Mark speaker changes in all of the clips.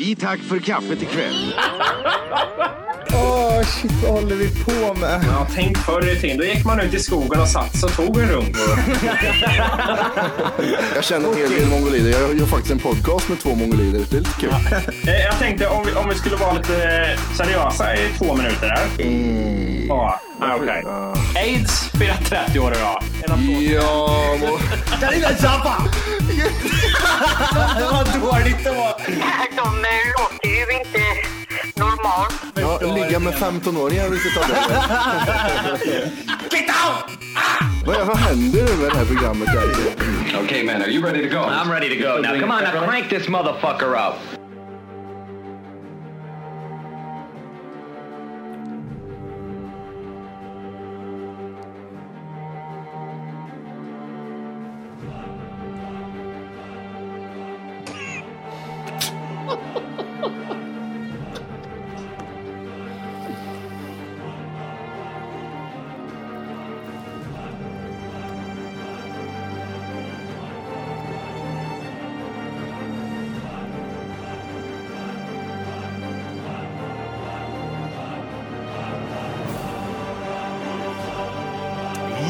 Speaker 1: I tack för kaffet ikväll.
Speaker 2: Åh, shit, vad håller vi på med?
Speaker 3: Ja, tänk förr i tiden. Då gick man ut i skogen och satt sig och tog en runk.
Speaker 4: Jag känner en hel del mongolider. Jag gör faktiskt en podcast med två mongolider. Det är lite kul.
Speaker 3: Eh, Jag tänkte om vi, om vi skulle vara lite eh, seriösa i två minuter där. Ja, ah, okej. Aids firar 30 år idag. En applåd.
Speaker 4: Ja, må...
Speaker 3: Vad dåligt det var.
Speaker 5: De eh, låter ju inte normalt.
Speaker 4: ja, ligga med 15-åringar vilket av det är. Vad, vad händer nu med det här programmet? Där?
Speaker 6: Okay, man, are you ready to go? I'm ready to go. Now, come on, now crank this motherfucker up.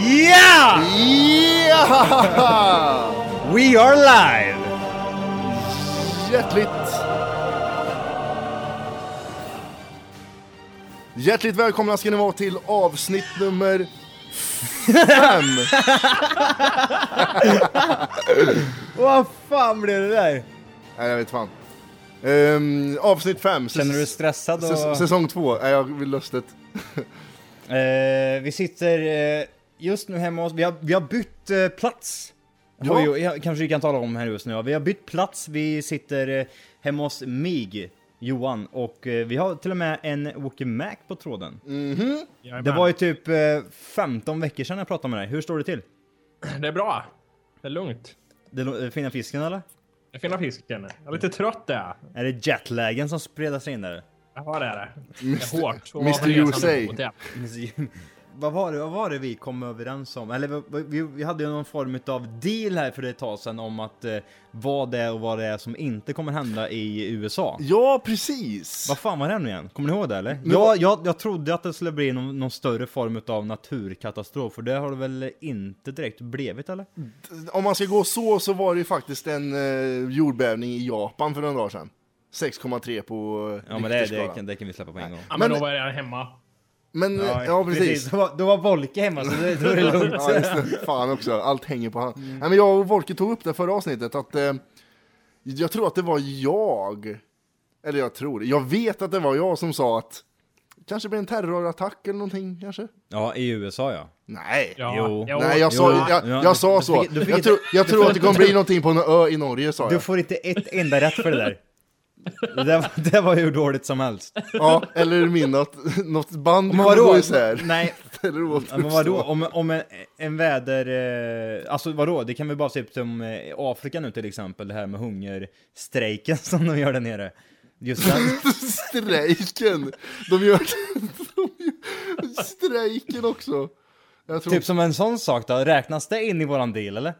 Speaker 2: Yeah!
Speaker 4: Ja!
Speaker 2: We are live!
Speaker 4: Hjärtligt... Hjärtligt välkomna ska ni vara till avsnitt nummer fem.
Speaker 2: Vad fan blev det där?
Speaker 4: Nej, jag vet fan. Ehm, avsnitt fem.
Speaker 2: Känner du dig stressad?
Speaker 4: Säs-
Speaker 2: Och,
Speaker 4: Säsong två. Nej, jag vill lustigt.
Speaker 2: eh, vi sitter eh, just nu hemma hos vi har, vi har bytt eh, plats.
Speaker 4: Ja.
Speaker 2: Oj, oj, jag kanske vi kan tala om här just nu. ja. Vi har bytt plats, vi sitter eh, hemma hos mig, Johan, och eh, vi har till och med en Walkie Mac på tråden. Det var ju typ eh, 15 veckor sedan jag pratade med dig. Hur står det till?
Speaker 3: Det är bra. Det är lugnt.
Speaker 2: Den eh, fina fisken eller?
Speaker 3: Det är fina fisken. Jag är lite trött där.
Speaker 2: Är det jetlagen som spredar sig in där?
Speaker 3: Ja, det är det. Det är hårt. att vara
Speaker 4: Mr.
Speaker 3: på resan
Speaker 4: USA.
Speaker 3: emot, ja.
Speaker 2: vad, var det, vad var det vi kom överens om? Eller vad- vad- vi, vi hade ju någon form av deal här för ett tag sedan om att eh, vad det är och vad det är som inte kommer hända i USA.
Speaker 4: Ja, precis.
Speaker 2: Vad fan var det nu igen? Kommer ni ihåg det eller? Jag, jag, jag trodde att det skulle bli någon, någon större form av naturkatastrof, för det har det väl inte direkt blivit eller?
Speaker 4: Om man ska gå så, så var det ju faktiskt en eh, jordbävning i Japan för några dagar sedan. 6,3 på eh,
Speaker 2: Ja men det, det,
Speaker 4: Richterskalan.
Speaker 2: kan, det kan vi släppa på en gång.
Speaker 3: Ja, men,
Speaker 4: Men-
Speaker 3: då var jag hemma.
Speaker 4: Men, eh, ja precis.
Speaker 2: Då var, då var Volke hemma så det, då är det lugnt.
Speaker 4: Ja, just det. Fan också, allt hänger på han. Nej, men jag och Volke tog upp det förra avsnittet att eh, jag tror att det var jag, eller jag tror, jag vet att det var jag som sa att kanske blir en terrorattack eller någonting kanske?
Speaker 2: Ja, i USA ja.
Speaker 4: Nej.
Speaker 3: Ja,
Speaker 2: Jo.
Speaker 3: jag
Speaker 4: Nej, jag,
Speaker 3: åt-
Speaker 4: sa,
Speaker 3: Jo.
Speaker 4: jag,
Speaker 2: ja,
Speaker 4: jag
Speaker 2: du-
Speaker 4: sa
Speaker 2: du
Speaker 4: så.
Speaker 2: fick- du fick
Speaker 4: jag
Speaker 2: inte-
Speaker 4: tror, jag tror att det kommer bli någonting på en ö i Norge, sa
Speaker 2: Du
Speaker 4: jag.
Speaker 2: får inte ett enda rätt för det där. Det där, var- det var hur dåligt som helst.
Speaker 4: Ja, eller min, att något band
Speaker 2: Men
Speaker 4: kommer
Speaker 2: vadå?
Speaker 4: gå isär.
Speaker 2: Nej,
Speaker 4: Eller återuppstå.
Speaker 2: men vadå? Om, om en, en väder... Eh, alltså vadå? Det kan vi bara se upp som eh, Afrika nu till exempel, det här med hungerstrejken som de gör där nere. Just den.
Speaker 4: Strejken! De gör, de gör strejken också. Jag tror,
Speaker 2: typ som en sån sak då, räknas det in i våran deal eller?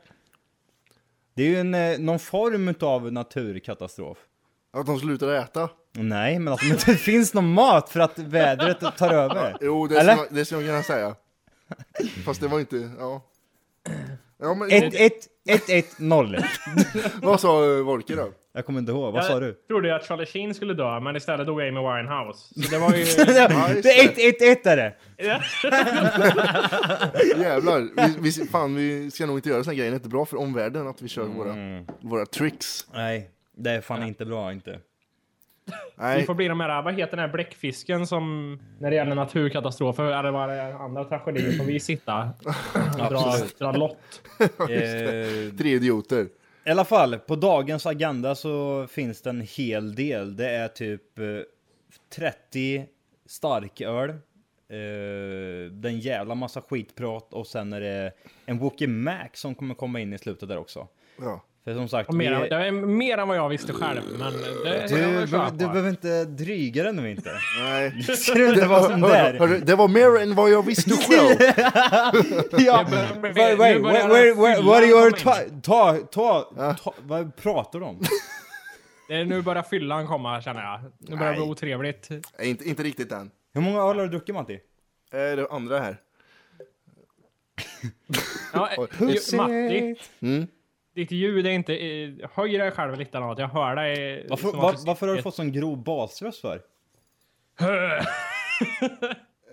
Speaker 2: Det är ju en, eh, någon form av naturkatastrof.
Speaker 4: Att de slutar äta.
Speaker 2: Nej, men att det inte finns någon mat för att vädret tar över.
Speaker 4: Jo, det
Speaker 2: Eller?
Speaker 4: skulle jag, det skulle jag kunna säga. Fast det var inte, ja. ja men,
Speaker 2: 1-1-1-1-0.
Speaker 4: Vad sa eh, Wolke då?
Speaker 2: Jag kommer inte ihåg, vad sa du?
Speaker 3: Jag trodde ju att Charlie Sheen skulle dö, men istället dog Amy Winehouse. Så det var ju...
Speaker 4: just
Speaker 2: det är 1-1-1 är det!
Speaker 4: Jävlar, vi, vi, fan vi ska nog inte göra såna grejer, det är inte bra för omvärlden att vi kör
Speaker 2: Mm.
Speaker 4: våra, våra tricks.
Speaker 2: Nej, det är fan inte bra inte.
Speaker 3: Vi
Speaker 4: Nej,
Speaker 3: får bli de här, vad heter den här bläckfisken som... När det gäller naturkatastrofer eller vad det är, andra tragedier får vi sitta och dra, dra lott.
Speaker 2: Eh,
Speaker 4: tre idioter.
Speaker 2: I alla fall, på dagens agenda så finns det en hel del. Det är typ eh, 30 starköl, eh, den jävla massa skitprat och sen är det en Wookie Mac som kommer komma in i slutet där också.
Speaker 4: Ja.
Speaker 2: För som sagt,
Speaker 3: Och mer,
Speaker 2: vi-
Speaker 3: det är mer än vad jag visste själv, men det
Speaker 2: du,
Speaker 3: jag vill
Speaker 2: behöver-
Speaker 3: köpa.
Speaker 2: du behöver inte dryga den nu inte.
Speaker 4: Nej.
Speaker 2: Ser du inte vad som
Speaker 4: Hör,
Speaker 2: där?
Speaker 4: hör, det var mer än vad jag visste själv.
Speaker 2: Ja,
Speaker 3: börjar- nu
Speaker 2: wait, wait, wait,
Speaker 3: börjar
Speaker 2: wait, wait,
Speaker 3: fyran
Speaker 2: what are you
Speaker 3: komma
Speaker 2: ta, ta, ta, ta, vad pratar du om?
Speaker 3: Det är nu börjar fyllan komma känner jag. Nu börjar det bli
Speaker 4: Nej.
Speaker 3: otrevligt.
Speaker 4: Nej, inte, inte riktigt än.
Speaker 2: Hur många öl har du druckit Matti?
Speaker 4: Eh, det är andra här.
Speaker 3: Ja, eh, ju- Matti,
Speaker 4: Mm.
Speaker 3: ditt ljud är inte... eh, Höj dig själv lite annat. Jag hör dig... eh,
Speaker 2: Varför,
Speaker 3: som
Speaker 2: var,
Speaker 3: att-
Speaker 2: varför har du fått sån grov basröst för?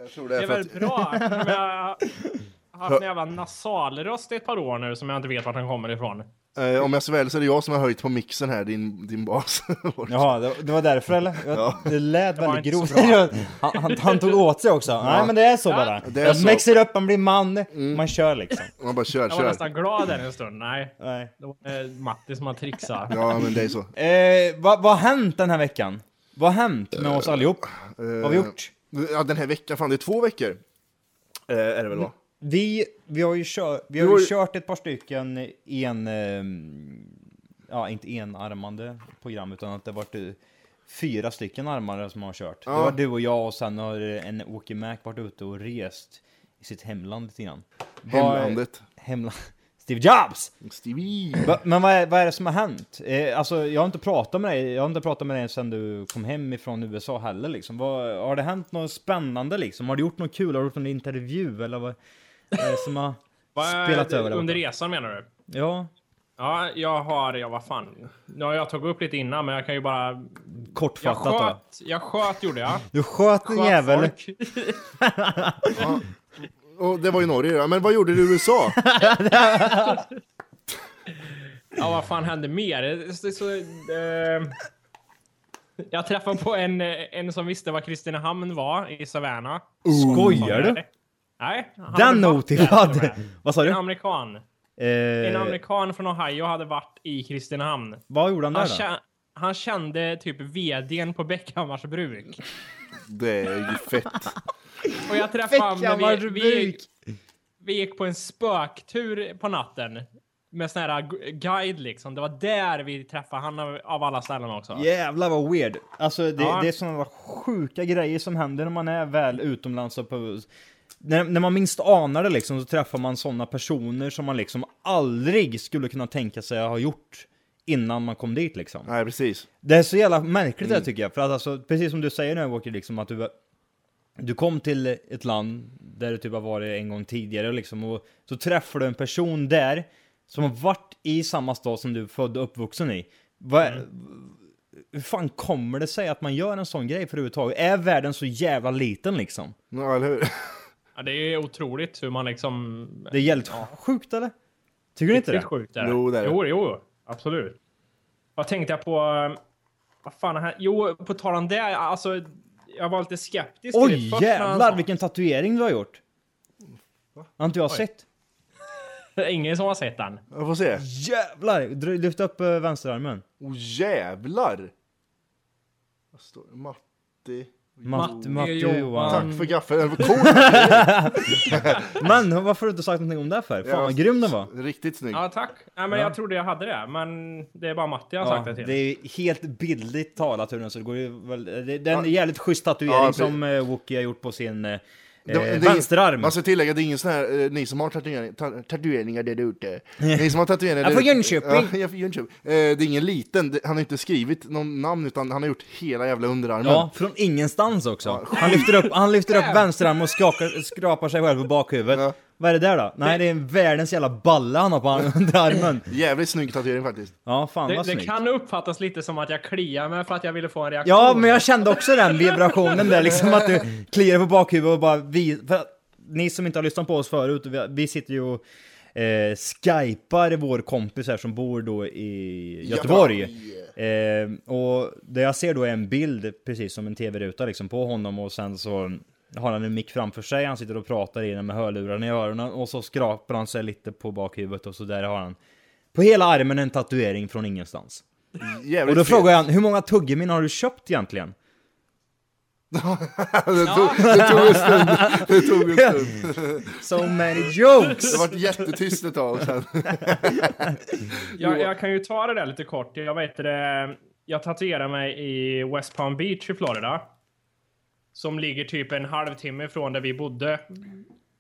Speaker 4: Jag tror det
Speaker 3: Det
Speaker 4: är för
Speaker 3: är väl
Speaker 4: att...
Speaker 3: bra. men Jag har haft en jävla nasalröst i ett par år nu som jag inte vet vart den kommer ifrån.
Speaker 4: Eh, om jag sväljer så är det jag som har höjt på mixen här, din, din bas.
Speaker 2: Jaha, det, det var därför eller? Jag,
Speaker 4: Ja.
Speaker 2: Det lät
Speaker 3: var
Speaker 2: väldigt
Speaker 3: inte
Speaker 2: grovt.
Speaker 3: så
Speaker 2: han, han, han tog åt sig också. Nej men det är så bara.
Speaker 4: det är
Speaker 2: man
Speaker 4: så. Mm.
Speaker 2: mixar upp, man blir man, man kör liksom.
Speaker 4: Man bara kör,
Speaker 3: Jag var
Speaker 4: kör.
Speaker 3: nästan glad där en stund. Nej,
Speaker 2: Nej.
Speaker 3: det var eh, Matti som har trixat.
Speaker 4: Ja, men det är så.
Speaker 2: Eh, vad, vad har hänt den här veckan? Vad har hänt med oss allihop? Vad har vi
Speaker 4: Eh,
Speaker 2: gjort?
Speaker 4: Ja, den här veckan, fan det är två veckor. Eh, är det väl va?
Speaker 2: Mm. Vi, vi har ju, kör, vi
Speaker 4: Vi
Speaker 2: har ju
Speaker 4: har ju-
Speaker 2: kört ett par stycken en... ehm, Ja, inte enarmande program, utan att det har varit eh, fyra stycken armare som har kört. Det var du och jag och sen har eh, en Åke Mac varit ute och rest i sitt hemland lite grann. Vad-
Speaker 4: Hemlandet.
Speaker 2: Hemland. Steve Jobs!
Speaker 4: Stevie.
Speaker 2: Va, men vad är, vad är det som har hänt? Eh, alltså, jag har inte pratat med dig, jag har inte pratat med dig sedan du kom hem ifrån USA heller liksom. Vad, har det hänt något spännande liksom? Har du gjort något kul? Har du gjort någon intervju eller vad? Eh, som har
Speaker 3: Vad-
Speaker 2: spelat över? där
Speaker 3: Under
Speaker 2: borta?
Speaker 3: resan menar du?
Speaker 2: Ja,
Speaker 3: Ja, jag har... Ja, vad fan. Nu har jag tagit upp lite innan, men jag kan ju bara... Jag
Speaker 2: kortfattat då.
Speaker 3: sköt, jag sköt gjorde jag.
Speaker 2: Du sköt en
Speaker 3: Sköt
Speaker 2: jävel.
Speaker 3: folk.
Speaker 4: Och det var ju Norge ja. Men vad gjorde du i USA?
Speaker 3: Ja, vad fan hände mer? Så, så, eh, jag träffade på en, eh, en som visste vad Kristinehamn var i Savannah.
Speaker 2: Skojar du?
Speaker 3: Nej, han hade
Speaker 2: Oh. Den
Speaker 3: varit
Speaker 2: otippat!
Speaker 3: där.
Speaker 2: Vad sa du?
Speaker 3: En amerikan. En
Speaker 2: Eh,
Speaker 3: amerikan från Ohio hade varit i Kristinehamn.
Speaker 2: vad gjorde han
Speaker 3: Han,
Speaker 2: där då?
Speaker 3: kä- han kände typ vdn på Bäckhammars bruk.
Speaker 4: Det är ju fett.
Speaker 3: Och jag träffade honom när vi,
Speaker 2: Bäckhammars
Speaker 3: vi,
Speaker 2: bruk.
Speaker 3: vi gick på en spöktur på natten. Med sån här gu- guide liksom. Det var där vi träffade han av, av alla ställen också.
Speaker 2: Jävlar vad weird! Alltså det,
Speaker 3: Ja.
Speaker 2: det är sådana sjuka grejer som händer när man är väl utomlands och på... När, när man minst anar det liksom så träffar man sådana personer som man liksom aldrig skulle kunna tänka sig ha gjort innan man kom dit liksom.
Speaker 4: Nej, precis.
Speaker 2: Det är så jävla märkligt
Speaker 3: Mm.
Speaker 2: det här, tycker jag, för att alltså, precis som du säger nu Walker, liksom att du, du kom till ett land där du typ har varit en gång tidigare liksom, och så träffar du en person där som har varit i samma stad som du är född och uppvuxen i. Vad-
Speaker 3: Mm.
Speaker 2: Hur fan kommer det sig att man gör en sån grej för överhuvudtaget? Är världen så jävla liten liksom?
Speaker 4: Ja, eller hur?
Speaker 3: Ja, det är otroligt hur man liksom...
Speaker 2: Det är jävligt sjukt eller? Tycker du inte
Speaker 3: Riktigt
Speaker 2: det?
Speaker 3: sjukt är det.
Speaker 4: Jo, det är det.
Speaker 3: Jo, jo, absolut. Vad tänkte jag på? eh, Vad fan här? Jo, på tal om det, alltså... Jag var lite skeptisk till det
Speaker 2: Oj
Speaker 3: först när han
Speaker 2: jävlar
Speaker 3: sa-
Speaker 2: vilken tatuering du har gjort! Har inte jag sett?
Speaker 3: Ingen som har sett den.
Speaker 4: Jag får se.
Speaker 2: Jävlar! Dra- Lyft upp eh, vänsterarmen.
Speaker 4: Åh oh, jävlar! Vad står det? Matti.
Speaker 2: Matt, Matte
Speaker 3: Johan.
Speaker 2: Johan.
Speaker 4: Tack för gaffeln. Den var cool.
Speaker 2: Men varför har du inte sagt någonting om det här för? Fan vad grym den var.
Speaker 4: Riktigt snygg.
Speaker 3: Ja, tack. Nej, men
Speaker 2: Ja.
Speaker 3: jag trodde jag hade det, men det är bara Matti jag har
Speaker 2: Ja,
Speaker 3: sagt det till.
Speaker 2: det är ju helt bildligt talat hur den så det går ju väl, det, det är en jävligt schysst tatuering
Speaker 4: Ja, precis.
Speaker 2: som eh, Wookie har gjort på sin eh,
Speaker 4: Det- alltså- det är-
Speaker 2: vänsterarm.
Speaker 4: Man ska tillägga, det är ingen sån här, eh, ni som har tatuering, ta, tatueringar där ute. Ni som har tatueringar där
Speaker 2: Jag är från
Speaker 4: ute-
Speaker 2: Jönköping.
Speaker 4: Ja, jag är från Jönköping. Eh, Det är ingen liten, det- han har inte skrivit någon namn utan han har gjort hela jävla underarmen.
Speaker 2: Ja, från ingenstans också. Han lyfter upp, han lyfter upp vänsterarmen och skakar, skrapar sig själv på bakhuvudet.
Speaker 4: Ja.
Speaker 2: Vad är det där då? Nej, det är en världens jävla balla han har på underarmen.
Speaker 4: Jävligt snygg tatuering faktiskt.
Speaker 2: Ja, fan
Speaker 3: Det,
Speaker 2: vad
Speaker 3: det
Speaker 2: snyggt.
Speaker 3: kan uppfattas lite som att jag kliar mig för att jag ville få en reaktion.
Speaker 2: Ja, men jag kände också den vibrationen där liksom att du kliar på bakhuvudet och bara vi, för att, Ni som inte har lyssnat på oss förut, vi, vi sitter ju och eh, skypar vår kompis här som bor då i Göteborg. Eh, och det jag ser då är en bild, precis som en tv-ruta liksom, på honom och sen så har han en mick framför sig, han sitter och pratar i den med hörlurarna i öronen och så skrapar han sig lite på bakhuvudet och så där har han på hela armen en tatuering från ingenstans.
Speaker 4: Jävligt
Speaker 2: Och då
Speaker 4: fet.
Speaker 2: frågar jag han, hur många tuggummin har du köpt egentligen?
Speaker 4: det, tog, det tog en stund. Det tog en stund.
Speaker 2: So many jokes!
Speaker 4: Det vart jättetyst ett tag sen.
Speaker 3: Jag, jag kan ju ta det där lite kort. Jag vet det. Jag tatuerade mig i West Palm Beach i Florida. Som ligger typ en halvtimme från
Speaker 2: Mm.
Speaker 3: där vi bodde.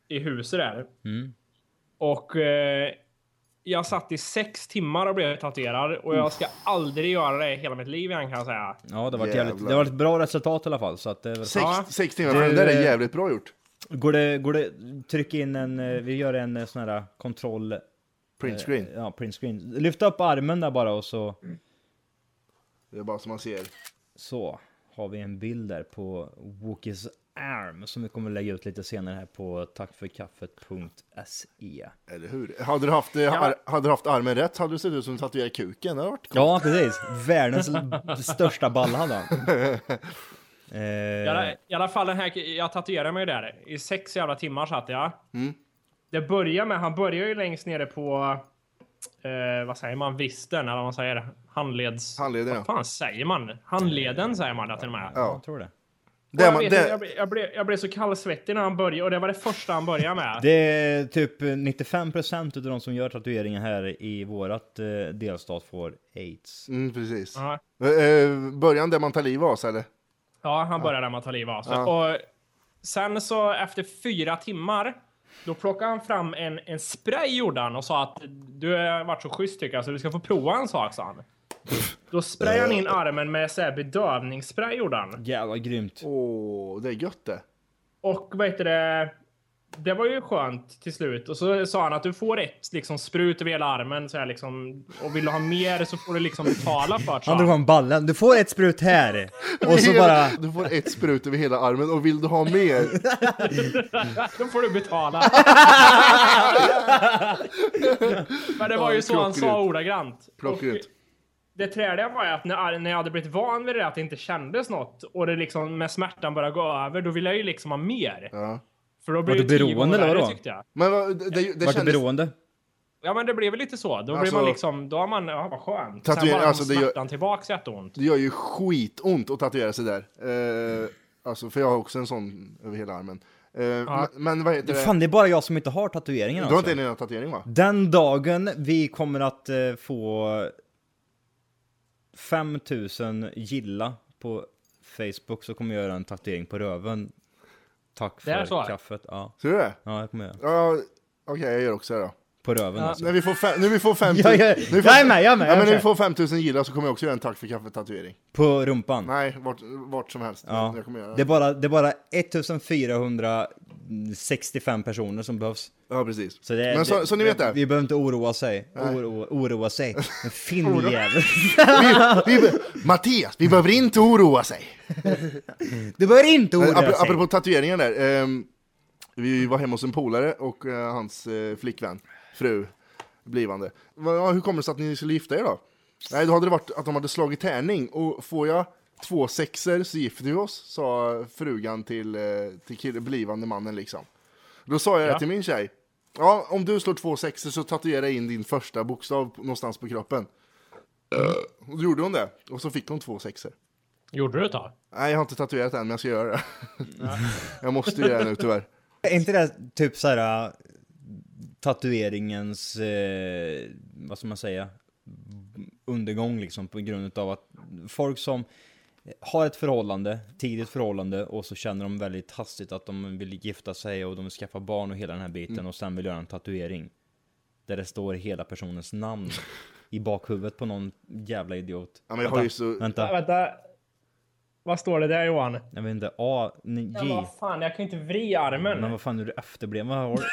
Speaker 3: I huset där. Och eh, jag satt i sex timmar och blev tatuerad och jag ska aldrig göra det i hela mitt liv igen kan jag säga.
Speaker 2: Ja, det var, ett
Speaker 4: Jävlar.
Speaker 2: jävligt, det var ett bra resultat i alla fall. Så att det är väl...
Speaker 4: Sex,
Speaker 3: Ja.
Speaker 4: sex timmar, men det där är jävligt bra gjort.
Speaker 2: Går det, går det, tryck in en, eh, vi gör en eh, sån här kontroll,
Speaker 4: Print screen.
Speaker 2: ja, print screen. Lyft upp armen där bara och så,
Speaker 4: Det är bara som man ser.
Speaker 2: så har vi en bild där på Wookies arm som vi kommer lägga ut lite senare här på tackforkaffet.se.
Speaker 4: Eller hur? Hade du haft, eh, ar- hade du haft armen rätt hade du sett ut som tatuerad kuken. Det hade varit
Speaker 2: Ja, precis. Världens l- största balla hade han.
Speaker 3: I alla,
Speaker 2: Eh,
Speaker 3: I alla fall den här, jag tatuerade mig där. I sex jävla timmar satt jag.
Speaker 2: Mm.
Speaker 3: Det börjar med, han börjar ju längst nere på, eh, vad säger man, visten eller vad man säger. Handleds...
Speaker 4: Handleden,
Speaker 3: Vad fan säger man? Handleden säger man det till och med.
Speaker 4: Ja.
Speaker 2: jag tror det.
Speaker 3: Och
Speaker 4: Där
Speaker 3: jag,
Speaker 4: man,
Speaker 3: vet,
Speaker 4: där,
Speaker 3: inte, jag, blev- jag, blev, jag blev så kallsvettig när han började och det var det första han började med.
Speaker 2: Det är typ 95% av de som gör tatueringar här i vårat eh, delstat får aids.
Speaker 4: mm, precis.
Speaker 3: Ja.
Speaker 4: Eh, eh, början där man tar liv av oss, eller?
Speaker 3: Ja, han började med att ta livet av sig. Och sen så efter fyra timmar, då plockade han fram en, en spray gjorde han och sa att du har varit så schysst tycker jag så du ska få prova en sak sa han. Då sprayade han in armen med så här bedövningsspray gjorde han.
Speaker 2: Jävla grymt.
Speaker 4: Åh, det är gött det.
Speaker 3: Och vad heter det? Det var ju skönt till slut. Och så sa han att du får ett liksom, sprut över hela armen så här, liksom, och vill du ha mer så får du liksom betala för det. sa
Speaker 2: Han drog
Speaker 3: han.
Speaker 2: fram ballen. Du får ett sprut här! Och så bara...
Speaker 4: Du får ett sprut över hela armen och vill du ha mer?
Speaker 3: Då får du betala. Men det var ju så han sa
Speaker 4: Klockrent.
Speaker 3: ordagrant.
Speaker 4: Klockrent.
Speaker 3: Och Det träliga var ju att när, när jag hade blivit van vid det där, att det inte kändes något och det liksom med smärtan började gå över, då ville jag ju liksom ha mer.
Speaker 4: Ja.
Speaker 3: För då blev
Speaker 2: du
Speaker 3: det tio gånger
Speaker 2: beroende eller
Speaker 3: värre,
Speaker 2: vadå?
Speaker 3: tyckte jag.
Speaker 4: Men vad- det, det, det
Speaker 2: Vart du
Speaker 4: kändes...
Speaker 2: beroende?
Speaker 3: Ja men det blev väl lite så. Då
Speaker 4: Alltså-
Speaker 3: blir man liksom, då har man, ja vad skönt.
Speaker 4: Tatuering-
Speaker 3: Sen bara
Speaker 4: alltså,
Speaker 3: alltså,
Speaker 4: det gör-
Speaker 3: smärtan tillbaks jätteont.
Speaker 4: Det gör ju skitont att tatuera sig där. Eh, alltså, för jag har också en sån över hela armen. Eh, men, men vad heter det?
Speaker 2: Fan, det är bara jag som inte har tatueringen
Speaker 4: du har
Speaker 2: alltså.
Speaker 4: inte en enda tatuering va?
Speaker 2: Den dagen vi kommer att eh, få 5000 gilla på Facebook så kommer jag göra en tatuering på röven. Tack
Speaker 3: Det är så,
Speaker 2: för
Speaker 3: eller?
Speaker 2: kaffet. Ja,
Speaker 4: Ser du det?
Speaker 2: ja jag kommer göra.
Speaker 4: Ja, okej, jag gör också det då.
Speaker 2: På röven alltså.
Speaker 4: När vi får fem, när vi får fem
Speaker 2: Jag gör-
Speaker 4: när vi får-
Speaker 2: jag är med, jag är med,
Speaker 4: Ja,
Speaker 2: jag
Speaker 4: men när
Speaker 2: kör.
Speaker 4: vi får 5000 gilla så kommer jag också göra en tack för kaffet-tatuering.
Speaker 2: På rumpan.
Speaker 4: Nej, vart, vart som helst.
Speaker 2: Ja.
Speaker 4: Jag kommer göra
Speaker 2: Det, är
Speaker 4: det.
Speaker 2: bara, det är bara 1465 personer som behövs.
Speaker 4: Ja, precis.
Speaker 2: Så det,
Speaker 4: men så,
Speaker 2: det,
Speaker 4: så ni vet det.
Speaker 2: Vi behöver inte oroa sig. Oro, oroa sig. En finnjävel.
Speaker 4: Vi be- Mattias, vi behöver inte oroa sig.
Speaker 2: Du behöver inte oroa
Speaker 4: Apropå,
Speaker 2: dig.
Speaker 4: Eh, apropå tatueringen där. ehm, vi var hemma hos en polare och eh, hans eh, flickvän, fru, blivande. Va- Ja, hur kommer det sig att ni skulle gifta er då? Nej, då hade det varit att de hade slagit tärning och får jag två sexer så gifter vi oss, sa frugan till, eh, till kill- blivande mannen liksom. Då sa jag det till min tjej. Ja, om du slår två sexer så tatuerar jag in din första bokstav på- någonstans på kroppen. Och då gjorde hon det, och så fick hon två sexer.
Speaker 3: Gjorde du det då?
Speaker 4: Nej, jag har inte tatuerat än, men jag ska göra det. jag måste göra det nu tyvärr.
Speaker 2: Är inte det typ så här äh, tatueringens, eh, vad ska man säga, undergång liksom på grund av att folk som har ett förhållande, tidigt förhållande och så känner de väldigt hastigt att de vill gifta sig och de vill skaffa barn och hela den här biten
Speaker 4: Mm.
Speaker 2: och sen vill göra en tatuering. Där det står hela personens namn i bakhuvudet på någon jävla idiot.
Speaker 4: Ja, men jag har
Speaker 2: vänta,
Speaker 4: ju så-
Speaker 2: vänta,
Speaker 3: Vänta. Vad står det där Johan?
Speaker 2: jag vet inte, A, N,
Speaker 3: Ja,
Speaker 2: J.
Speaker 3: vad fan, jag kan ju inte vrida armen.
Speaker 2: Men vad fan är du efterbliven? Vad har du?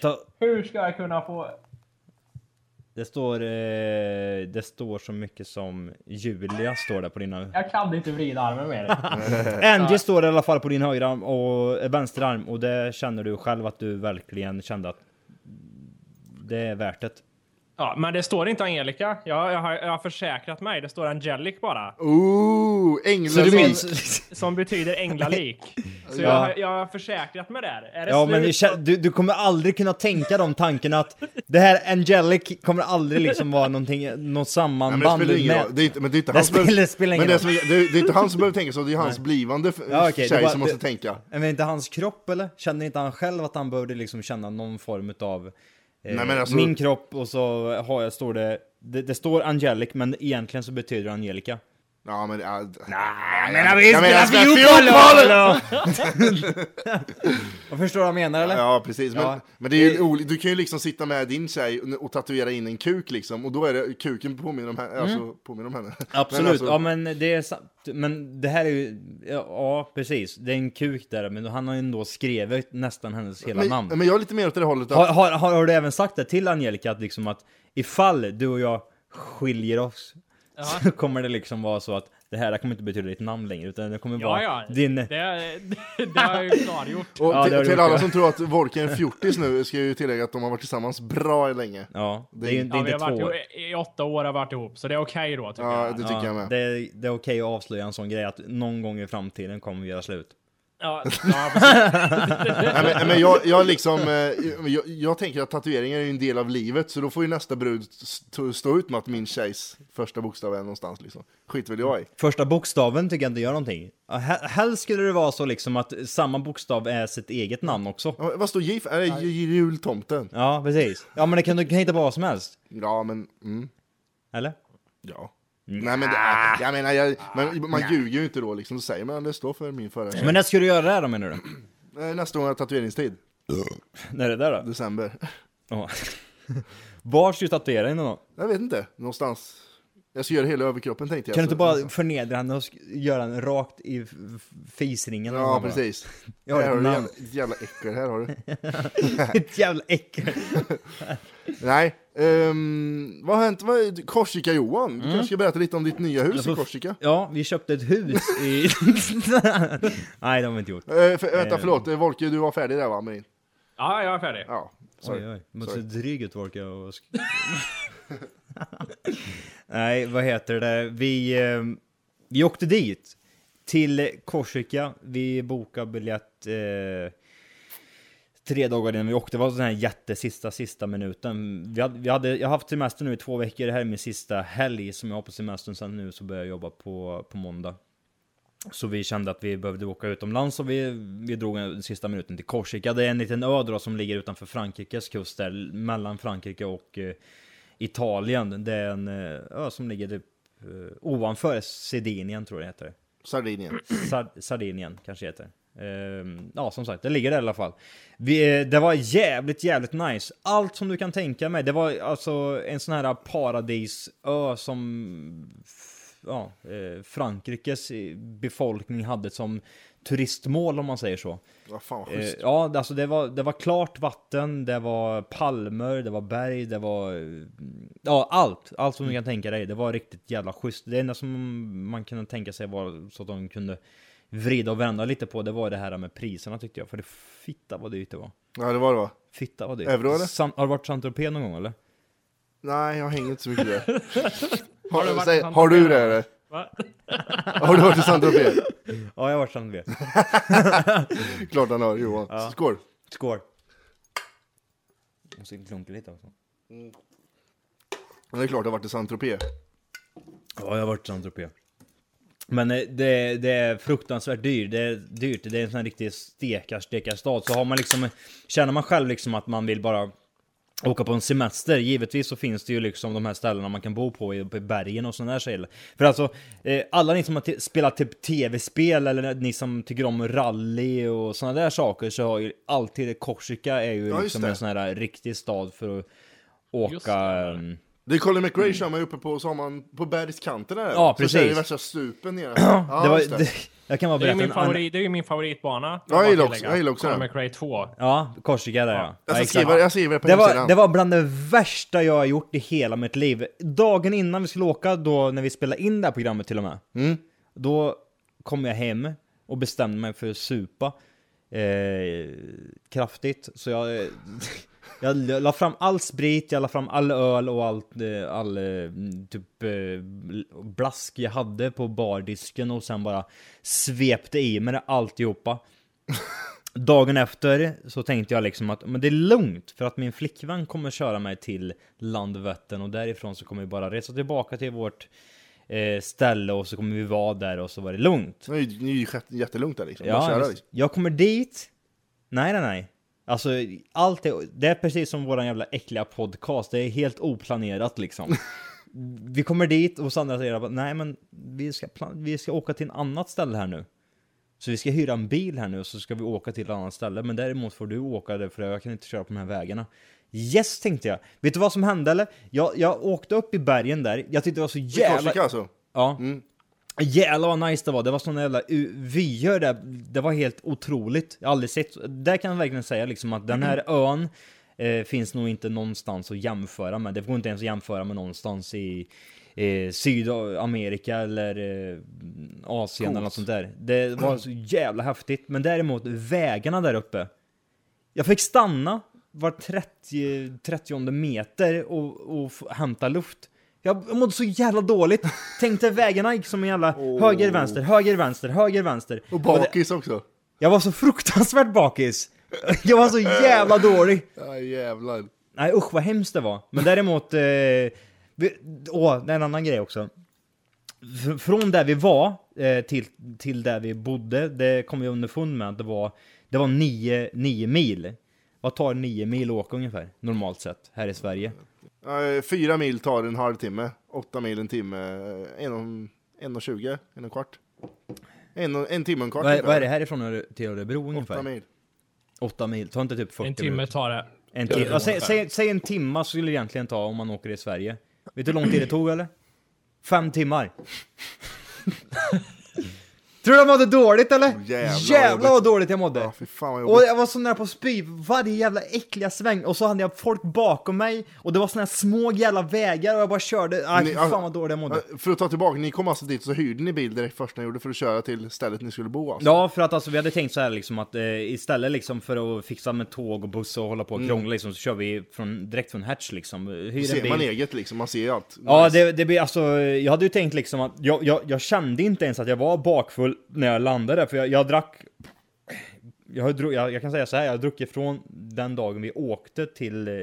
Speaker 2: Ta,
Speaker 3: Hur ska jag kunna få...
Speaker 2: Det står, eh, det står så mycket som Julia står där på din högra.
Speaker 3: Jag kan inte vrida armen mer.
Speaker 2: Angie står i alla fall på din högra arm och eh, vänsterarm och det känner du själv att du verkligen kände att det är värt det.
Speaker 3: Ja, men det står inte Angelica. Jag, jag, har, jag har försäkrat mig. Det står Angelic bara.
Speaker 4: Ooh, änglalin!
Speaker 3: Som betyder änglalik. Så jag,
Speaker 2: Ja.
Speaker 3: har- jag har försäkrat mig där. Är det
Speaker 2: Ja
Speaker 3: slut?
Speaker 2: men det kä- du, du kommer aldrig kunna tänka de tankarna att det här Angelic kommer aldrig liksom vara någonting, något
Speaker 4: Nej, men det
Speaker 2: sammanband
Speaker 4: spelar ingen
Speaker 2: med-
Speaker 4: roll. Det är inte, men det är inte
Speaker 2: Det
Speaker 4: han
Speaker 2: spelar-
Speaker 4: behöver-
Speaker 2: spelar
Speaker 4: men
Speaker 2: ingen
Speaker 4: det, är
Speaker 2: roll.
Speaker 4: som, det, är, det är inte han som behöver tänka så, det är hans blivande f-
Speaker 2: Ja, okej, det
Speaker 4: tjej
Speaker 2: var-
Speaker 4: som måste
Speaker 2: det-
Speaker 4: tänka.
Speaker 2: Men är inte hans kropp eller? Känner inte han själv att han behövde liksom känna någon form av eh,
Speaker 4: Nej, men alltså-
Speaker 2: min kropp och så har jag, står det, det, det står Angelic men egentligen så betyder det Angelica.
Speaker 4: Ja, men... Äh,
Speaker 2: Jag menar visst,
Speaker 4: Jag menar,
Speaker 2: spelar
Speaker 4: spelar
Speaker 2: Jag förstår vad jag menar eller?
Speaker 4: Ja, precis. Men,
Speaker 2: Ja.
Speaker 4: men det är ju oli- du kan ju liksom sitta med din tjej och- och tatuera in en kuk liksom, och då är det kuken påminner om henne. Alltså, påminner om henne.
Speaker 2: Mm. Absolut,
Speaker 4: Men alltså,
Speaker 2: ja men det är sant. Men det här är ju, ja, ja precis, det är en kuk där men han har ju ändå skrivit nästan hennes hela
Speaker 4: men,
Speaker 2: namn.
Speaker 4: men jag är lite mer åt det hållet. Att,
Speaker 2: Har, har, har, har du även sagt det till Angelica att liksom att ifall du och jag skiljer oss så kommer det liksom vara så att det här kommer inte betyda ditt namn längre utan det kommer
Speaker 3: Ja,
Speaker 2: vara
Speaker 3: ja.
Speaker 2: din...
Speaker 3: Det, det har jag ju klargjort.
Speaker 4: och
Speaker 2: Ja, det
Speaker 4: till,
Speaker 2: har du
Speaker 4: till
Speaker 2: gjort,
Speaker 4: alla
Speaker 2: ja.
Speaker 4: som tror att Volke är en fjortis nu ska jag ju tillägga att de har varit tillsammans bra länge.
Speaker 2: Ja, det, är, ju- det
Speaker 3: Ja,
Speaker 2: är
Speaker 3: vi
Speaker 2: inte
Speaker 3: har
Speaker 2: två
Speaker 3: varit
Speaker 2: år.
Speaker 3: ihop, i åtta år har vi varit ihop, så det är okej då tycker
Speaker 4: Ja, det
Speaker 3: jag.
Speaker 4: tycker
Speaker 2: Ja,
Speaker 4: jag med.
Speaker 2: det, är- det är okej att avslöja en sån grej att någon gång i framtiden kommer vi göra slut.
Speaker 3: Ja, ja, precis.
Speaker 4: Nej, men, men jag, jag, liksom, eh, jag, jag tänker att tatueringar är ju en del av livet, så då får ju nästa brud stå, stå ut med att min tjejs första bokstav är någonstans. Liksom. Skit väl jag i.
Speaker 2: Första bokstaven tycker jag inte gör någonting. Ja, he- Helst skulle det vara så liksom att samma bokstav är sitt eget namn också.
Speaker 4: Ja, men Vad står J för? Är det ju- jultomten?
Speaker 2: Ja, precis. Ja, men det kan, det kan hitta på vad som helst.
Speaker 4: Ja, men... Mm,
Speaker 2: Eller?
Speaker 4: ja.
Speaker 2: Mm.
Speaker 4: Nej, men det, är- jag menar, jag, men, man ljuger ju inte då, liksom. Då säger man det står för min förra tjej.
Speaker 2: Men när ska du göra det här då menar du?
Speaker 4: Eh, Nästa gång har jag tatueringstid.
Speaker 2: När är det där då?
Speaker 4: December.
Speaker 2: Ja. Var ska du tatuera henne då? Kan
Speaker 4: Jag vet inte. Någonstans. Jag ska göra hela överkroppen tänkte jag.
Speaker 2: du inte
Speaker 4: Så-
Speaker 2: bara förnedra henne och sk- göra den rakt i f- f- Alltså, fisringen? eller
Speaker 4: Ja,
Speaker 2: något bara?
Speaker 4: precis.
Speaker 2: Jag har
Speaker 4: här
Speaker 2: ett
Speaker 4: har du
Speaker 2: namn.
Speaker 4: jävla, jävla äckel, här har du.
Speaker 2: Ett jävla äckel.
Speaker 4: Nej. ehm, vad har hänt? Vad, Korsika Johan, du
Speaker 2: Mm.
Speaker 4: kanske ska berätta lite om ditt nya hus i Korsika?
Speaker 2: Alltså, Ja, vi köpte ett hus i... Nej, det har vi inte gjort.
Speaker 4: Eh, för, vänta,
Speaker 2: Eh.
Speaker 4: förlåt. Eh, Volke, du var färdig där va, Marin?
Speaker 3: ja, jag är färdig.
Speaker 4: Ja, sorry.
Speaker 2: Oj, oj. Måste
Speaker 4: Sorry.
Speaker 2: se dryg ut orkar jag och sk- Nej, vad heter det? Vi, eh, vi åkte dit till Korsika. Vi bokade biljett eh, tre dagar innan vi åkte. Det var den här jättesista, sista minuten. Vi hade, vi hade, jag har haft semester nu i två veckor. Det här är min sista helg som jag har på semestern. Sen nu så börjar jag jobba på, på måndag. Så vi kände att vi behövde åka utomlands och vi, vi drog den sista minuten till Korsika. Det är en liten ö då som ligger utanför Frankrikes kust där, mellan Frankrike och eh, Italien. Det är en eh, ö som ligger typ eh, ovanför Sardinien tror jag det heter.
Speaker 4: Sardinien.
Speaker 2: Sar- Sardinien kanske heter. Ehm, ja, som sagt, det ligger där i alla fall. Vi, eh, det var jävligt, jävligt nice. Allt som du kan tänka mig. Det var alltså en sån här paradisö som f- ja, eh, Frankrikes eh, befolkning hade som turistmål om man säger så.
Speaker 4: Vad fan vad
Speaker 2: Eh,
Speaker 4: schysst.
Speaker 2: ja, alltså det var, det var klart vatten, det var palmer, det var berg, det var... eh, Ja, allt! Allt som du kan tänka dig. Det var riktigt jävla schysst. Det enda som man kunde tänka sig var så att de kunde vrida och vända lite på, det var det här med priserna tyckte jag. För det fitta vad dyrt det var.
Speaker 4: Ja, det var det va?
Speaker 2: Fitta vad dyrt.
Speaker 4: Euro, eller?
Speaker 2: San, har du varit i Saint-Tropez någon gång eller?
Speaker 4: Nej, jag hänger inte så mycket där. har,
Speaker 3: du varit i
Speaker 4: säg,
Speaker 3: Saint-Tropez?
Speaker 4: har du det eller?
Speaker 3: Va?
Speaker 4: Har du varit i Saint-Tropez?
Speaker 2: Ja, jag har varit i Saint-Tropez.
Speaker 4: Klart han har, Johan. Skål!
Speaker 2: Skål! Måste klunka lite också.
Speaker 4: Men det är klart du har varit i Saint-Tropez.
Speaker 2: Ja, jag har varit i Saint-Tropez. Men eh, det, det är fruktansvärt dyrt. Det är dyrt. Det är en sån här riktig stekar, stekarstad. Så har man liksom, känner man själv liksom att man vill bara åka på en semester. Givetvis så finns det ju liksom de här ställena man kan bo på i, uppe i bergen och sådana där grejer. För alltså, eh, alla ni som har t- spelat typ tv-spel eller ni som tycker om rally och sådana där saker så har ju alltid Korsika är ju
Speaker 4: just
Speaker 2: liksom
Speaker 4: det.
Speaker 2: en sån här riktig stad för att åka... ehm,
Speaker 4: Det är Colin McRae kör man ju uppe på, så har man på bergskanten där.
Speaker 2: Ja,
Speaker 4: Så kör det
Speaker 2: precis.
Speaker 4: värsta stupen nere.
Speaker 2: det
Speaker 4: ja,
Speaker 2: var,
Speaker 4: just det.
Speaker 2: det, jag kan bara
Speaker 3: Det är, ju
Speaker 2: berätta
Speaker 3: min
Speaker 2: en annan-
Speaker 3: favorit, det är ju min favoritbana.
Speaker 4: Ja, jag gillar också- jag gillar också
Speaker 3: Conor
Speaker 4: den.
Speaker 3: McRae 2.
Speaker 2: Ja, Korsika där ja. ja.
Speaker 4: Jag ska
Speaker 2: exakt.
Speaker 4: skriva, jag skriver det på
Speaker 2: det, var,
Speaker 4: hemsidan.
Speaker 2: det var bland det värsta jag har gjort i hela mitt liv. Dagen innan vi skulle åka, då när vi spelade in det här programmet till och med,
Speaker 4: Mm.
Speaker 2: då kom jag hem och bestämde mig för att supa eh, kraftigt. Så jag, eh, jag la fram all sprit, jag la fram all öl och allt, eh, all eh, mm, typ eh, blask jag hade på bardisken och sen bara svepte i mig det alltihopa. Dagen efter så tänkte jag liksom att men det är lugnt för att min flickvän kommer köra mig till Landvetten och därifrån så kommer vi bara resa tillbaka till vårt eh, ställe och så kommer vi vara där och så var det lugnt.
Speaker 4: Nu är ju- nu är ju jätte- jättelugnt där liksom. Bara
Speaker 2: Ja,
Speaker 4: köra,
Speaker 2: visst.
Speaker 4: liksom.
Speaker 2: jag kommer dit. Nej, nej, nej. Alltså, allt är, det är precis som våran jävla äckliga podcast. Det är helt oplanerat liksom. Vi kommer dit och Sandra säger att nej men vi ska, plan- vi ska åka till en annat ställe här nu. Så vi ska hyra en bil här nu och så ska vi åka till ett annat ställe. Men däremot får du åka där för jag kan inte köra på de här vägarna. Yes tänkte jag. Vet du vad som hände eller? Jag, jag åkte upp i bergen där. Jag tyckte det var så jävla...
Speaker 4: Korsika alltså.
Speaker 2: Ja. Mm. Jävlar vad nice det var. Det var såna jävla u- vyer där. Det var helt otroligt. Jag har aldrig sett. Där kan jag verkligen säga liksom att den här ön eh, finns nog inte någonstans att jämföra med. Det går inte ens att jämföra med någonstans i eh, Sydamerika eller eh, Asien eller något sånt där. Det var så jävla häftigt. Men däremot vägarna där uppe. Jag fick stanna var 30, 30 meter och, och f- hämta luft. Jag mådde så jävla dåligt. Tänkte vägarna gick som en jävla höger, vänster, höger, vänster, höger, vänster.
Speaker 4: Och
Speaker 2: det-
Speaker 4: bakis också.
Speaker 2: Jag var så fruktansvärt bakis. Jag var så jävla dålig.
Speaker 4: Ja jävlar.
Speaker 2: Nej usch vad hemskt det var. Men däremot, eh, vi, åh, det är en annan grej också. Fr- Från där vi var eh, till, till där vi bodde, det kom jag underfund med att det var, det var nio, nio mil. Vad tar nio mil att åka ungefär, normalt sett, här i Sverige?
Speaker 4: Eh, Fyra mil tar en halvtimme, åtta mil en timme, eh, en och, en och tjugo, en och kvart. En, och, en timme och en kvart.
Speaker 2: Vad är,
Speaker 4: ungefär.
Speaker 2: vad är det härifrån Öre- till Örebro ungefär?
Speaker 4: Åtta mil.
Speaker 2: Åtta mil, tar inte typ 40
Speaker 3: En timme
Speaker 2: minuter?
Speaker 3: tar det.
Speaker 2: En timme. Ja, säg, säg, säg en timma skulle det egentligen ta om man åker i Sverige. Vet du hur lång tid det tog eller? Fem timmar. Tror du jag mådde dåligt eller?
Speaker 4: jävlar,
Speaker 2: Jävlar vad dåligt jag mådde!
Speaker 4: Ja, fy fan vad
Speaker 2: Och
Speaker 4: jobbigt.
Speaker 2: jag var så nära på att spy varje jävla äckliga sväng och så hade jag folk bakom mig och det var såna här små jävla vägar och jag bara körde. Aj,
Speaker 4: Ni-
Speaker 2: fy
Speaker 4: alltså-
Speaker 2: fan vad dåligt jag mådde.
Speaker 4: Eh, För att ta tillbaka, ni kom alltså dit så hyrde ni bil direkt först ni gjorde för att köra till stället ni skulle bo alltså.
Speaker 2: Ja, för att alltså, vi hade tänkt så här liksom att eh, istället liksom för att fixa med tåg och buss och hålla på och krångla liksom, så kör vi från, direkt från Hertz liksom. Hyr en
Speaker 4: Mm. Ser man
Speaker 2: bil.
Speaker 4: eget liksom, man ser ju allt.
Speaker 2: Ja, det, det blir alltså, jag hade ju tänkt liksom att jag, jag, jag kände inte ens att jag var bakfull när jag landade för jag, jag drack jag, har dru- jag, jag kan säga så här, jag har druckit från den dagen vi åkte till, eh,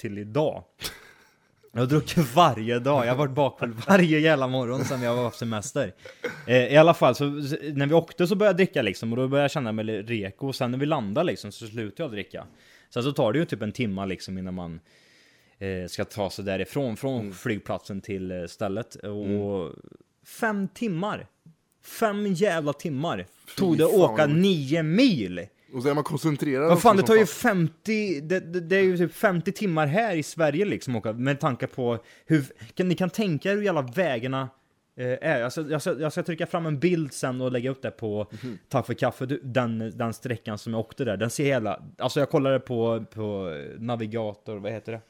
Speaker 2: till idag. Jag har druckit varje dag, jag har varit bakfull varje jävla morgon sedan jag var på semester. Eh, I alla fall, så, så- när vi åkte så började jag dricka liksom och då började jag känna mig lite reko och sen när vi landade liksom så slutade jag dricka. Sen så tar det ju typ en timma liksom innan man eh, ska ta sig därifrån, från
Speaker 4: Mm.
Speaker 2: flygplatsen till eh, stället. Och fem timmar! Fem jävla timmar! Tog det att
Speaker 4: fan,
Speaker 2: åka
Speaker 4: vad
Speaker 2: nio mil!
Speaker 4: Och så är man koncentrerad.
Speaker 2: Vad fan,
Speaker 4: också
Speaker 2: det
Speaker 4: som
Speaker 2: tar ju 50, det, det, det är ju typ 50 timmar här i Sverige liksom åka, med tanke på hur, kan, ni kan tänka er hur jävla vägarna eh, är. Jag ska, jag, ska, jag ska trycka fram en bild sen och lägga upp det på Tack för kaffe, Du, den, den sträckan som jag åkte där, den ser hela, alltså jag kollade på, på navigator, vad heter det?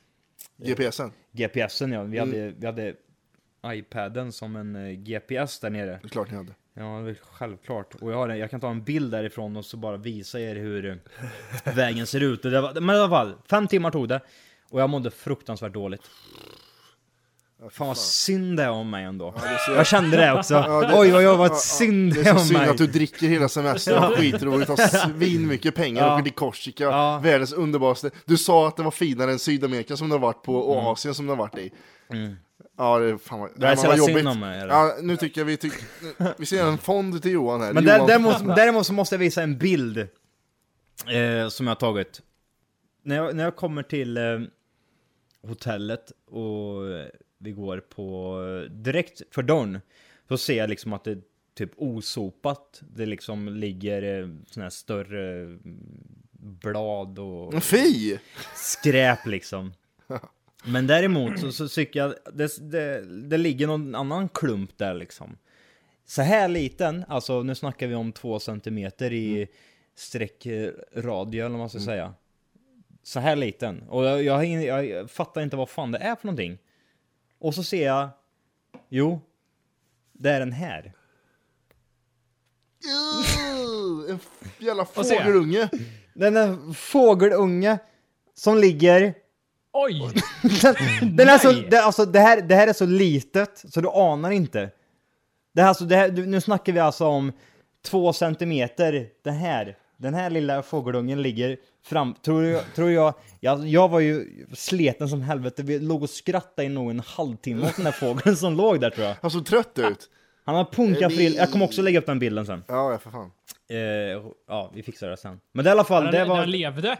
Speaker 4: GPSen.
Speaker 2: GPSen ja, vi, hade, vi hade iPaden som en eh, GPS där nere.
Speaker 4: Det är klart ni hade.
Speaker 2: Ja, det är väl självklart. Och jag, har, en- jag kan ta en bild därifrån och så bara visa er hur eh, vägen ser ut. Och Det var, men i alla fall, fem timmar tog det. Och jag mådde fruktansvärt dåligt. Fan vad synd det är om mig ändå. jag kände det också. Oj, oj, oj, vad synd
Speaker 4: Det
Speaker 2: det
Speaker 4: är
Speaker 2: är
Speaker 4: så
Speaker 2: om
Speaker 4: synd
Speaker 2: mig.
Speaker 4: att du dricker hela semestern och skiter och tar svin mycket pengar och åker till Korsika,
Speaker 2: Ja.
Speaker 4: världens underbaraste. Du sa att det var finare än Sydamerika som du har varit på och
Speaker 2: Mm.
Speaker 4: Asien som du har varit i. Ja, det är fan vad, det
Speaker 2: är
Speaker 4: är
Speaker 2: så
Speaker 4: vad
Speaker 2: jävla synd
Speaker 4: jobbigt.
Speaker 2: om mig, är det?
Speaker 4: ja, nu tycker jag vi, tyck, nu- vi ser en fond till Johan här.
Speaker 2: Men där,
Speaker 4: Johan,
Speaker 2: däremot, däremot så måste jag visa en bild eh, som jag har tagit. När jag, när jag kommer till eh, hotellet och eh, vi går på eh, direkt för dörren så ser jag liksom att det är typ osopat. Det liksom ligger eh, såna här större eh, blad och
Speaker 4: Fy!
Speaker 2: skräp liksom. Men däremot så, så tycker jag det, det, det ligger någon annan klump där liksom. Så här liten, alltså nu snackar vi om två centimeter i sträckradie eller vad man ska säga. Så här liten. Och jag, jag, har ingen- jag fattar inte vad fan det är för någonting. Och så ser jag, jo, det är den här.
Speaker 4: Uh, en f- jävla
Speaker 3: se.
Speaker 4: fågelunge!
Speaker 2: Den är fågelunge som ligger
Speaker 3: Oj!
Speaker 2: Den, den är så, det, alltså, det, här, det här är så litet så du anar inte. Det här, alltså, det här, du- nu snackar vi alltså om två centimeter. Den här, den här lilla fågelungen ligger fram. Tror, jag- tror jag, jag, jag var ju sleten som helvete. Vi låg och skrattade i nog en halvtimme åt den där fågeln som låg där tror jag.
Speaker 4: Han såg trött ut.
Speaker 2: Han har punkafrill. Jag kommer också lägga upp den bilden sen.
Speaker 4: Ja, ja, för fan.
Speaker 2: Eh, ja, vi fixar det sen. Men det i alla fall,
Speaker 3: Den,
Speaker 2: det
Speaker 3: den
Speaker 2: var...
Speaker 3: levde.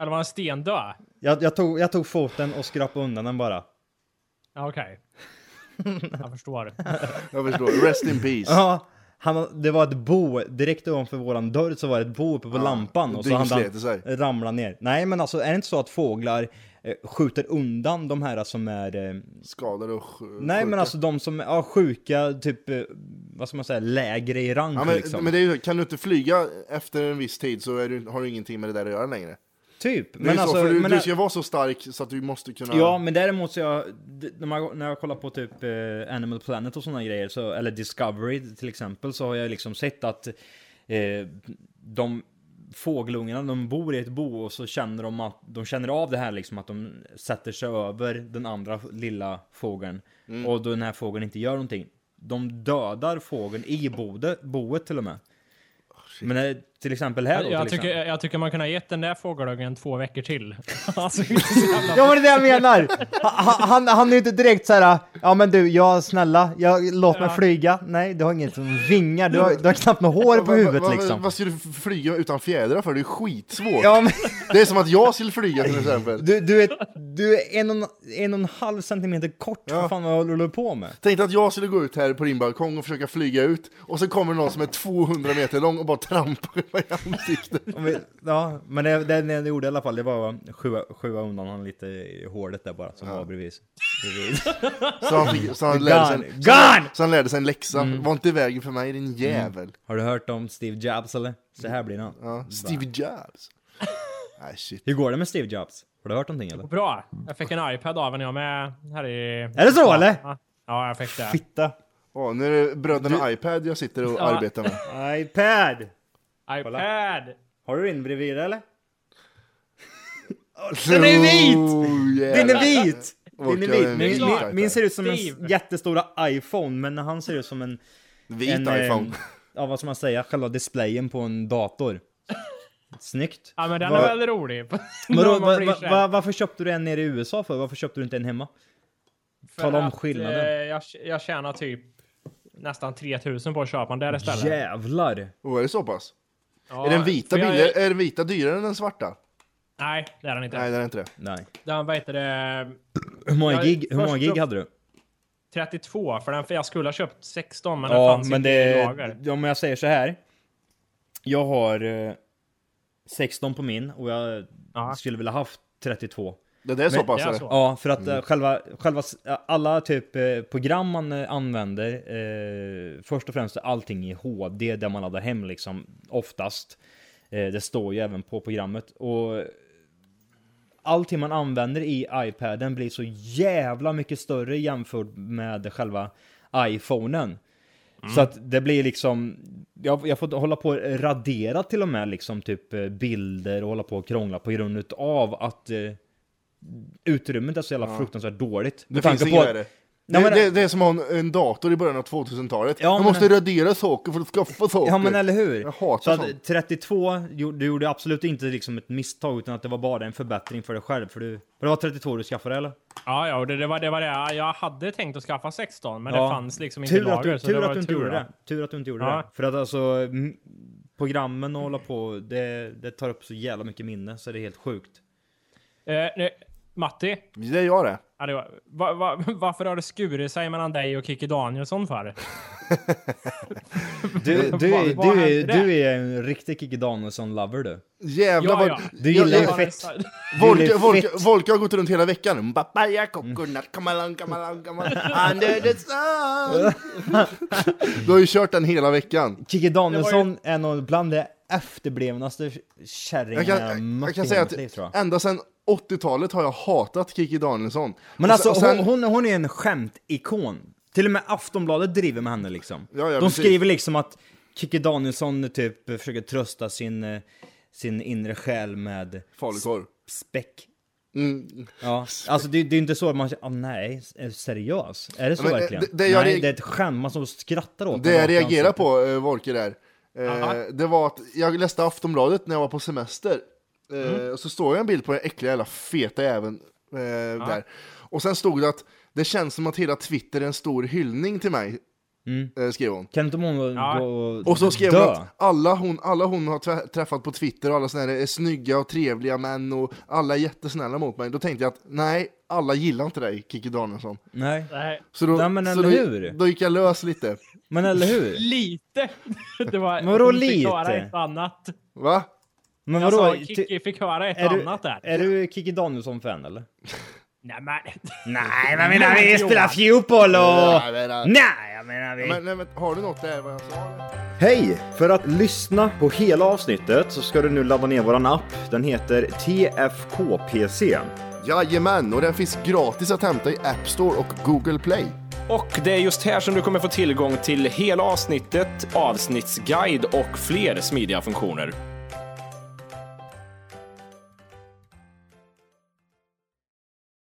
Speaker 3: Eller var den stendöd?
Speaker 2: Jag, jag, tog, jag tog foten och skrapade undan den bara.
Speaker 3: Ja, Okej. Jag förstår.
Speaker 4: Jag förstår. Rest in peace.
Speaker 2: Ja, han, har- det var ett bo, direkt ovanför våran dörr så var det ett bo uppe på lampan och så han
Speaker 4: dyngslet i sig.
Speaker 2: ramla ner. Nej men alltså är det inte så att fåglar eh, skjuter undan de här som är... Eh,
Speaker 4: Skadade och sj-
Speaker 2: nej men
Speaker 4: sjuka.
Speaker 2: alltså de som är ja, sjuka, typ, eh, vad ska man säga, lägre i rang
Speaker 4: Ja, men,
Speaker 2: liksom.
Speaker 4: men det är, ju- kan du inte flyga efter en viss tid så är du, har du ingenting med det där att göra längre.
Speaker 2: typ.
Speaker 4: Det är
Speaker 2: Men
Speaker 4: ju så,
Speaker 2: alltså,
Speaker 4: för du,
Speaker 2: men,
Speaker 4: du ska vara så stark så att du måste kunna...
Speaker 2: Ja, men däremot så jag, d- när, man, när jag kollar på typ eh, Animal Planet och sådana grejer, så, eller Discovery till exempel, så har jag liksom sett att eh, de fågelungarna, de bor i ett bo och så känner de att de känner av det här liksom att de sätter sig över den andra lilla fågeln och då den här fågeln inte gör någonting. De dödar fågeln i bode, boet till och med. men eh, till exempel här då,
Speaker 3: Jag
Speaker 2: till
Speaker 3: tycker,
Speaker 2: exempel.
Speaker 3: jag tycker man kunde ha gett den där fågelungen två veckor till. Alltså,
Speaker 2: Ja men det är det jag menar! Han, han, han är ju inte direkt så här. ja men du, jag snälla, jag, låt mig
Speaker 3: Ja.
Speaker 2: flyga. Nej, du har inget som vingar, du har, du har knappt något hår på huvudet
Speaker 4: vad,
Speaker 2: liksom.
Speaker 4: Vad ska du f- flyga utan fjädrar för? Det är skitsvårt.
Speaker 2: Ja, men,
Speaker 4: Det är som att jag skulle flyga till exempel.
Speaker 2: du, du, är, du är en och, en- en och en halv centimeter kort, vad fan vad håller du på med?
Speaker 4: Tänkte att jag skulle gå ut här på din balkong och försöka flyga ut och så kommer någon som är 200 meter lång och bara trampar mig i ansiktet.
Speaker 2: Om vi- Ja, men det, det, det jag gjorde i alla fall, det var sjua, sjua undan han lite i hålet där bara, som var bredvid. bredvid.
Speaker 4: Så han, fick, så han, lärde, sig
Speaker 2: Gone!
Speaker 4: en,
Speaker 2: Gone! Mm.
Speaker 4: så han lärde sig en läxa. Var inte i vägen för mig din jävel.
Speaker 2: Har du hört om Steve Jobs eller? Så här blir han.
Speaker 4: Ja. Steve Jobs. Nej shit.
Speaker 2: Hur går det med Steve Jobs? Har du hört någonting eller?
Speaker 3: bra. Jag fick en iPad av en jag med. Här i...
Speaker 2: Är det så eller?
Speaker 3: Ja, Ja, jag fick det.
Speaker 2: Fitta!
Speaker 4: Åh, nu är det bröderna iPad jag sitter och arbetar med.
Speaker 2: iPad!
Speaker 3: iPad!
Speaker 2: Har du din bredvid dig, eller?
Speaker 4: Den
Speaker 2: är vit!
Speaker 4: Oh,
Speaker 2: Den
Speaker 4: Den
Speaker 2: är vit!
Speaker 4: Orkar
Speaker 2: Den är
Speaker 4: jag en
Speaker 2: vit.
Speaker 4: vit
Speaker 2: Min, min,
Speaker 4: iPad?
Speaker 2: min ser ut som en s-
Speaker 3: Steve.
Speaker 2: jättestora iPhone, men han ser ut som en...
Speaker 4: Vit
Speaker 2: en eh,
Speaker 4: iPhone.
Speaker 2: Ja, vad ska man säga? Själva displayen på en dator. Snyggt.
Speaker 3: Ja, men den
Speaker 2: Vad-
Speaker 3: är väl rolig.
Speaker 2: Vadå,
Speaker 3: När man
Speaker 2: va,
Speaker 3: blir
Speaker 2: va,
Speaker 3: känd.
Speaker 2: va, varför köpte du en nere i USA för? Varför köpte du inte en hemma?
Speaker 3: För
Speaker 2: Tala om
Speaker 3: att,
Speaker 2: skillnaden.
Speaker 3: eh, Jag, jag tjänar typ nästan 3000 på att köpa den där istället.
Speaker 2: Jävlar!
Speaker 4: Åh, är det så pass?
Speaker 3: Ja,
Speaker 4: är, den vita
Speaker 3: för jag-
Speaker 4: billigare, är den vita dyrare än den svarta?
Speaker 3: Nej, det är den inte.
Speaker 4: Nej, den är inte det.
Speaker 2: Nej.
Speaker 3: Den, vad heter det?
Speaker 2: Hur många
Speaker 3: Jag-
Speaker 2: gig, hur många
Speaker 3: först
Speaker 2: gig
Speaker 3: upp-
Speaker 2: hade du?
Speaker 3: 32, för den, för jag skulle ha köpt 16, men den
Speaker 2: Ja,
Speaker 3: fanns
Speaker 2: men
Speaker 3: inte
Speaker 2: det...
Speaker 3: i lager.
Speaker 2: Om jag säger så här. Jag har eh, 16 på min och jag
Speaker 3: Ja.
Speaker 2: skulle vilja haft 32.
Speaker 4: Det där är så
Speaker 2: Men-
Speaker 4: pass?
Speaker 3: det är
Speaker 4: eller?
Speaker 3: så.
Speaker 2: Ja, för att eh, själva, själva, s- eh, alla typ eh, program man eh, använder, eh, först och främst är allting i HD, där man laddar hem liksom oftast. Eh, det står ju även på programmet. Och allting man använder i iPaden blir så jävla mycket större jämfört med själva iPhonen.
Speaker 4: Mm.
Speaker 2: Så att det blir liksom, jag, jag får hålla på och radera till och med liksom typ eh, bilder och hålla på och krångla på grund av att eh, utrymmet är så jävla fruktansvärt dåligt.
Speaker 4: Det
Speaker 2: Med
Speaker 4: finns
Speaker 2: tanke
Speaker 4: inget
Speaker 2: att-
Speaker 4: värre.
Speaker 2: Nej,
Speaker 4: det,
Speaker 2: men-
Speaker 4: det, det är som att ha en, en dator i början av 2000-talet.
Speaker 2: Ja,
Speaker 4: man
Speaker 2: men-
Speaker 4: måste radera saker för att skaffa saker.
Speaker 2: Ja men eller hur?
Speaker 4: Jag hatar
Speaker 2: så att
Speaker 4: sånt.
Speaker 2: 32, jo- du gjorde absolut inte liksom ett misstag utan att det var bara en förbättring för dig själv. För du, för det var 32 du skaffade eller?
Speaker 3: Ja, ja, och det, det, var, det var det. Jag hade tänkt att skaffa 16, men
Speaker 2: Ja.
Speaker 3: det fanns liksom inte i
Speaker 2: Tur att,
Speaker 3: lager.
Speaker 2: du,
Speaker 3: så
Speaker 2: tur
Speaker 3: det
Speaker 2: att
Speaker 3: var
Speaker 2: du inte
Speaker 3: tur,
Speaker 2: gjorde
Speaker 3: då.
Speaker 2: det. Tur att du inte gjorde
Speaker 3: Ja.
Speaker 2: det. För att alltså m- programmen och hålla på, det, det tar upp så jävla mycket minne så det är helt sjukt.
Speaker 3: Eh, nu, Matti,
Speaker 4: Det är jag det.
Speaker 3: ja, det var, va, va, varför har det skurit sig mellan dig och Kikki Danielsson för?
Speaker 2: Du,
Speaker 3: Vad-
Speaker 2: du, är-
Speaker 3: vad
Speaker 2: du, är-
Speaker 3: hände där?
Speaker 2: du är en riktig Kikki Danielsson-lover du.
Speaker 4: Jävlar vad...
Speaker 2: Du gillar
Speaker 4: jag-
Speaker 2: ju
Speaker 4: jag-
Speaker 2: fett.
Speaker 4: Volke,
Speaker 2: gillar ju
Speaker 4: Volke,
Speaker 2: fett. Mm.
Speaker 4: Volke har gått runt hela veckan. Papaya, coconut, come along, come along, come along, under the sun. du har ju kört den hela veckan.
Speaker 2: Kikki Danielsson är nog bland det efterblivnaste kärringarna
Speaker 4: Jag kan, jag kan säga att ända sedan 80-talet har jag hatat Kiki Danielsson.
Speaker 2: Men
Speaker 4: Och
Speaker 2: alltså
Speaker 4: sen- och sen-
Speaker 2: hon, hon, hon är en skämtikon. Till och med Aftonbladet driver med henne liksom.
Speaker 4: Ja, ja,
Speaker 2: De
Speaker 4: precis.
Speaker 2: skriver liksom att Kikki Danielsson typ försöker trösta sin, eh, sin inre själ med
Speaker 4: Falukorv.
Speaker 2: späck.
Speaker 4: Mm.
Speaker 2: Ja, alltså det, det är inte så att man känner, "Ah, nej, är du seriös? Är det så
Speaker 4: Men, eh,
Speaker 2: verkligen?
Speaker 4: det- det jag
Speaker 2: nej,
Speaker 4: reag-
Speaker 2: det är ett skämt, man som skrattar åt
Speaker 4: Det
Speaker 2: den
Speaker 4: jag
Speaker 2: rakt i
Speaker 4: reagerar
Speaker 2: ansiktet.
Speaker 4: på, eh, Volke, där, eh, det var att jag läste Aftonbladet när jag var på semester. Eh,
Speaker 2: Mm.
Speaker 4: Och så står jag en bild på den äckliga jävla feta även eh, där. Och sen stod det att det känns som att hela Twitter är en stor hyllning till mig. eh, skrev hon.
Speaker 2: Mm. Kan inte många
Speaker 3: Ja.
Speaker 2: gå och,
Speaker 4: Och så skrev hon
Speaker 2: dö?
Speaker 4: att alla hon, alla hon har trä- träffat på Twitter och alla såna här är snygga och trevliga män och alla är jättesnälla mot mig. Då tänkte jag att nej, alla gillar inte dig, Kikki Danielsson.
Speaker 2: Nej.
Speaker 3: Nej,
Speaker 4: Så då,
Speaker 2: Nej, men
Speaker 4: så
Speaker 2: eller
Speaker 4: då,
Speaker 2: hur?
Speaker 4: då gick jag lös lite.
Speaker 2: Men eller hur?
Speaker 3: lite. Det var,
Speaker 2: Men vadå
Speaker 3: hon fick
Speaker 2: lite?
Speaker 3: höra ett annat.
Speaker 4: Va?
Speaker 2: Men
Speaker 3: Jag sa
Speaker 2: vadå?
Speaker 3: Kikki fick höra ett
Speaker 2: är, du,
Speaker 3: annat där.
Speaker 2: är du Kikki Danielsson-fan eller?
Speaker 3: Nej, men.
Speaker 2: Nej, men jag menar
Speaker 3: Nej,
Speaker 2: vi
Speaker 3: Johan.
Speaker 2: spelar fotboll
Speaker 4: Ja,
Speaker 2: och...
Speaker 4: det där.
Speaker 2: Nej, jag menar vi...
Speaker 4: Men, nej, men har du något där vad jag sa? eller?
Speaker 7: Hej! För att lyssna på hela avsnittet så ska du nu ladda ner våran app. Den heter TFKPC.
Speaker 4: Jajamän, och den finns gratis att hämta i App Store och Google Play.
Speaker 8: Och det är just här som du kommer få tillgång till hela avsnittet, avsnittsguide och fler smidiga funktioner.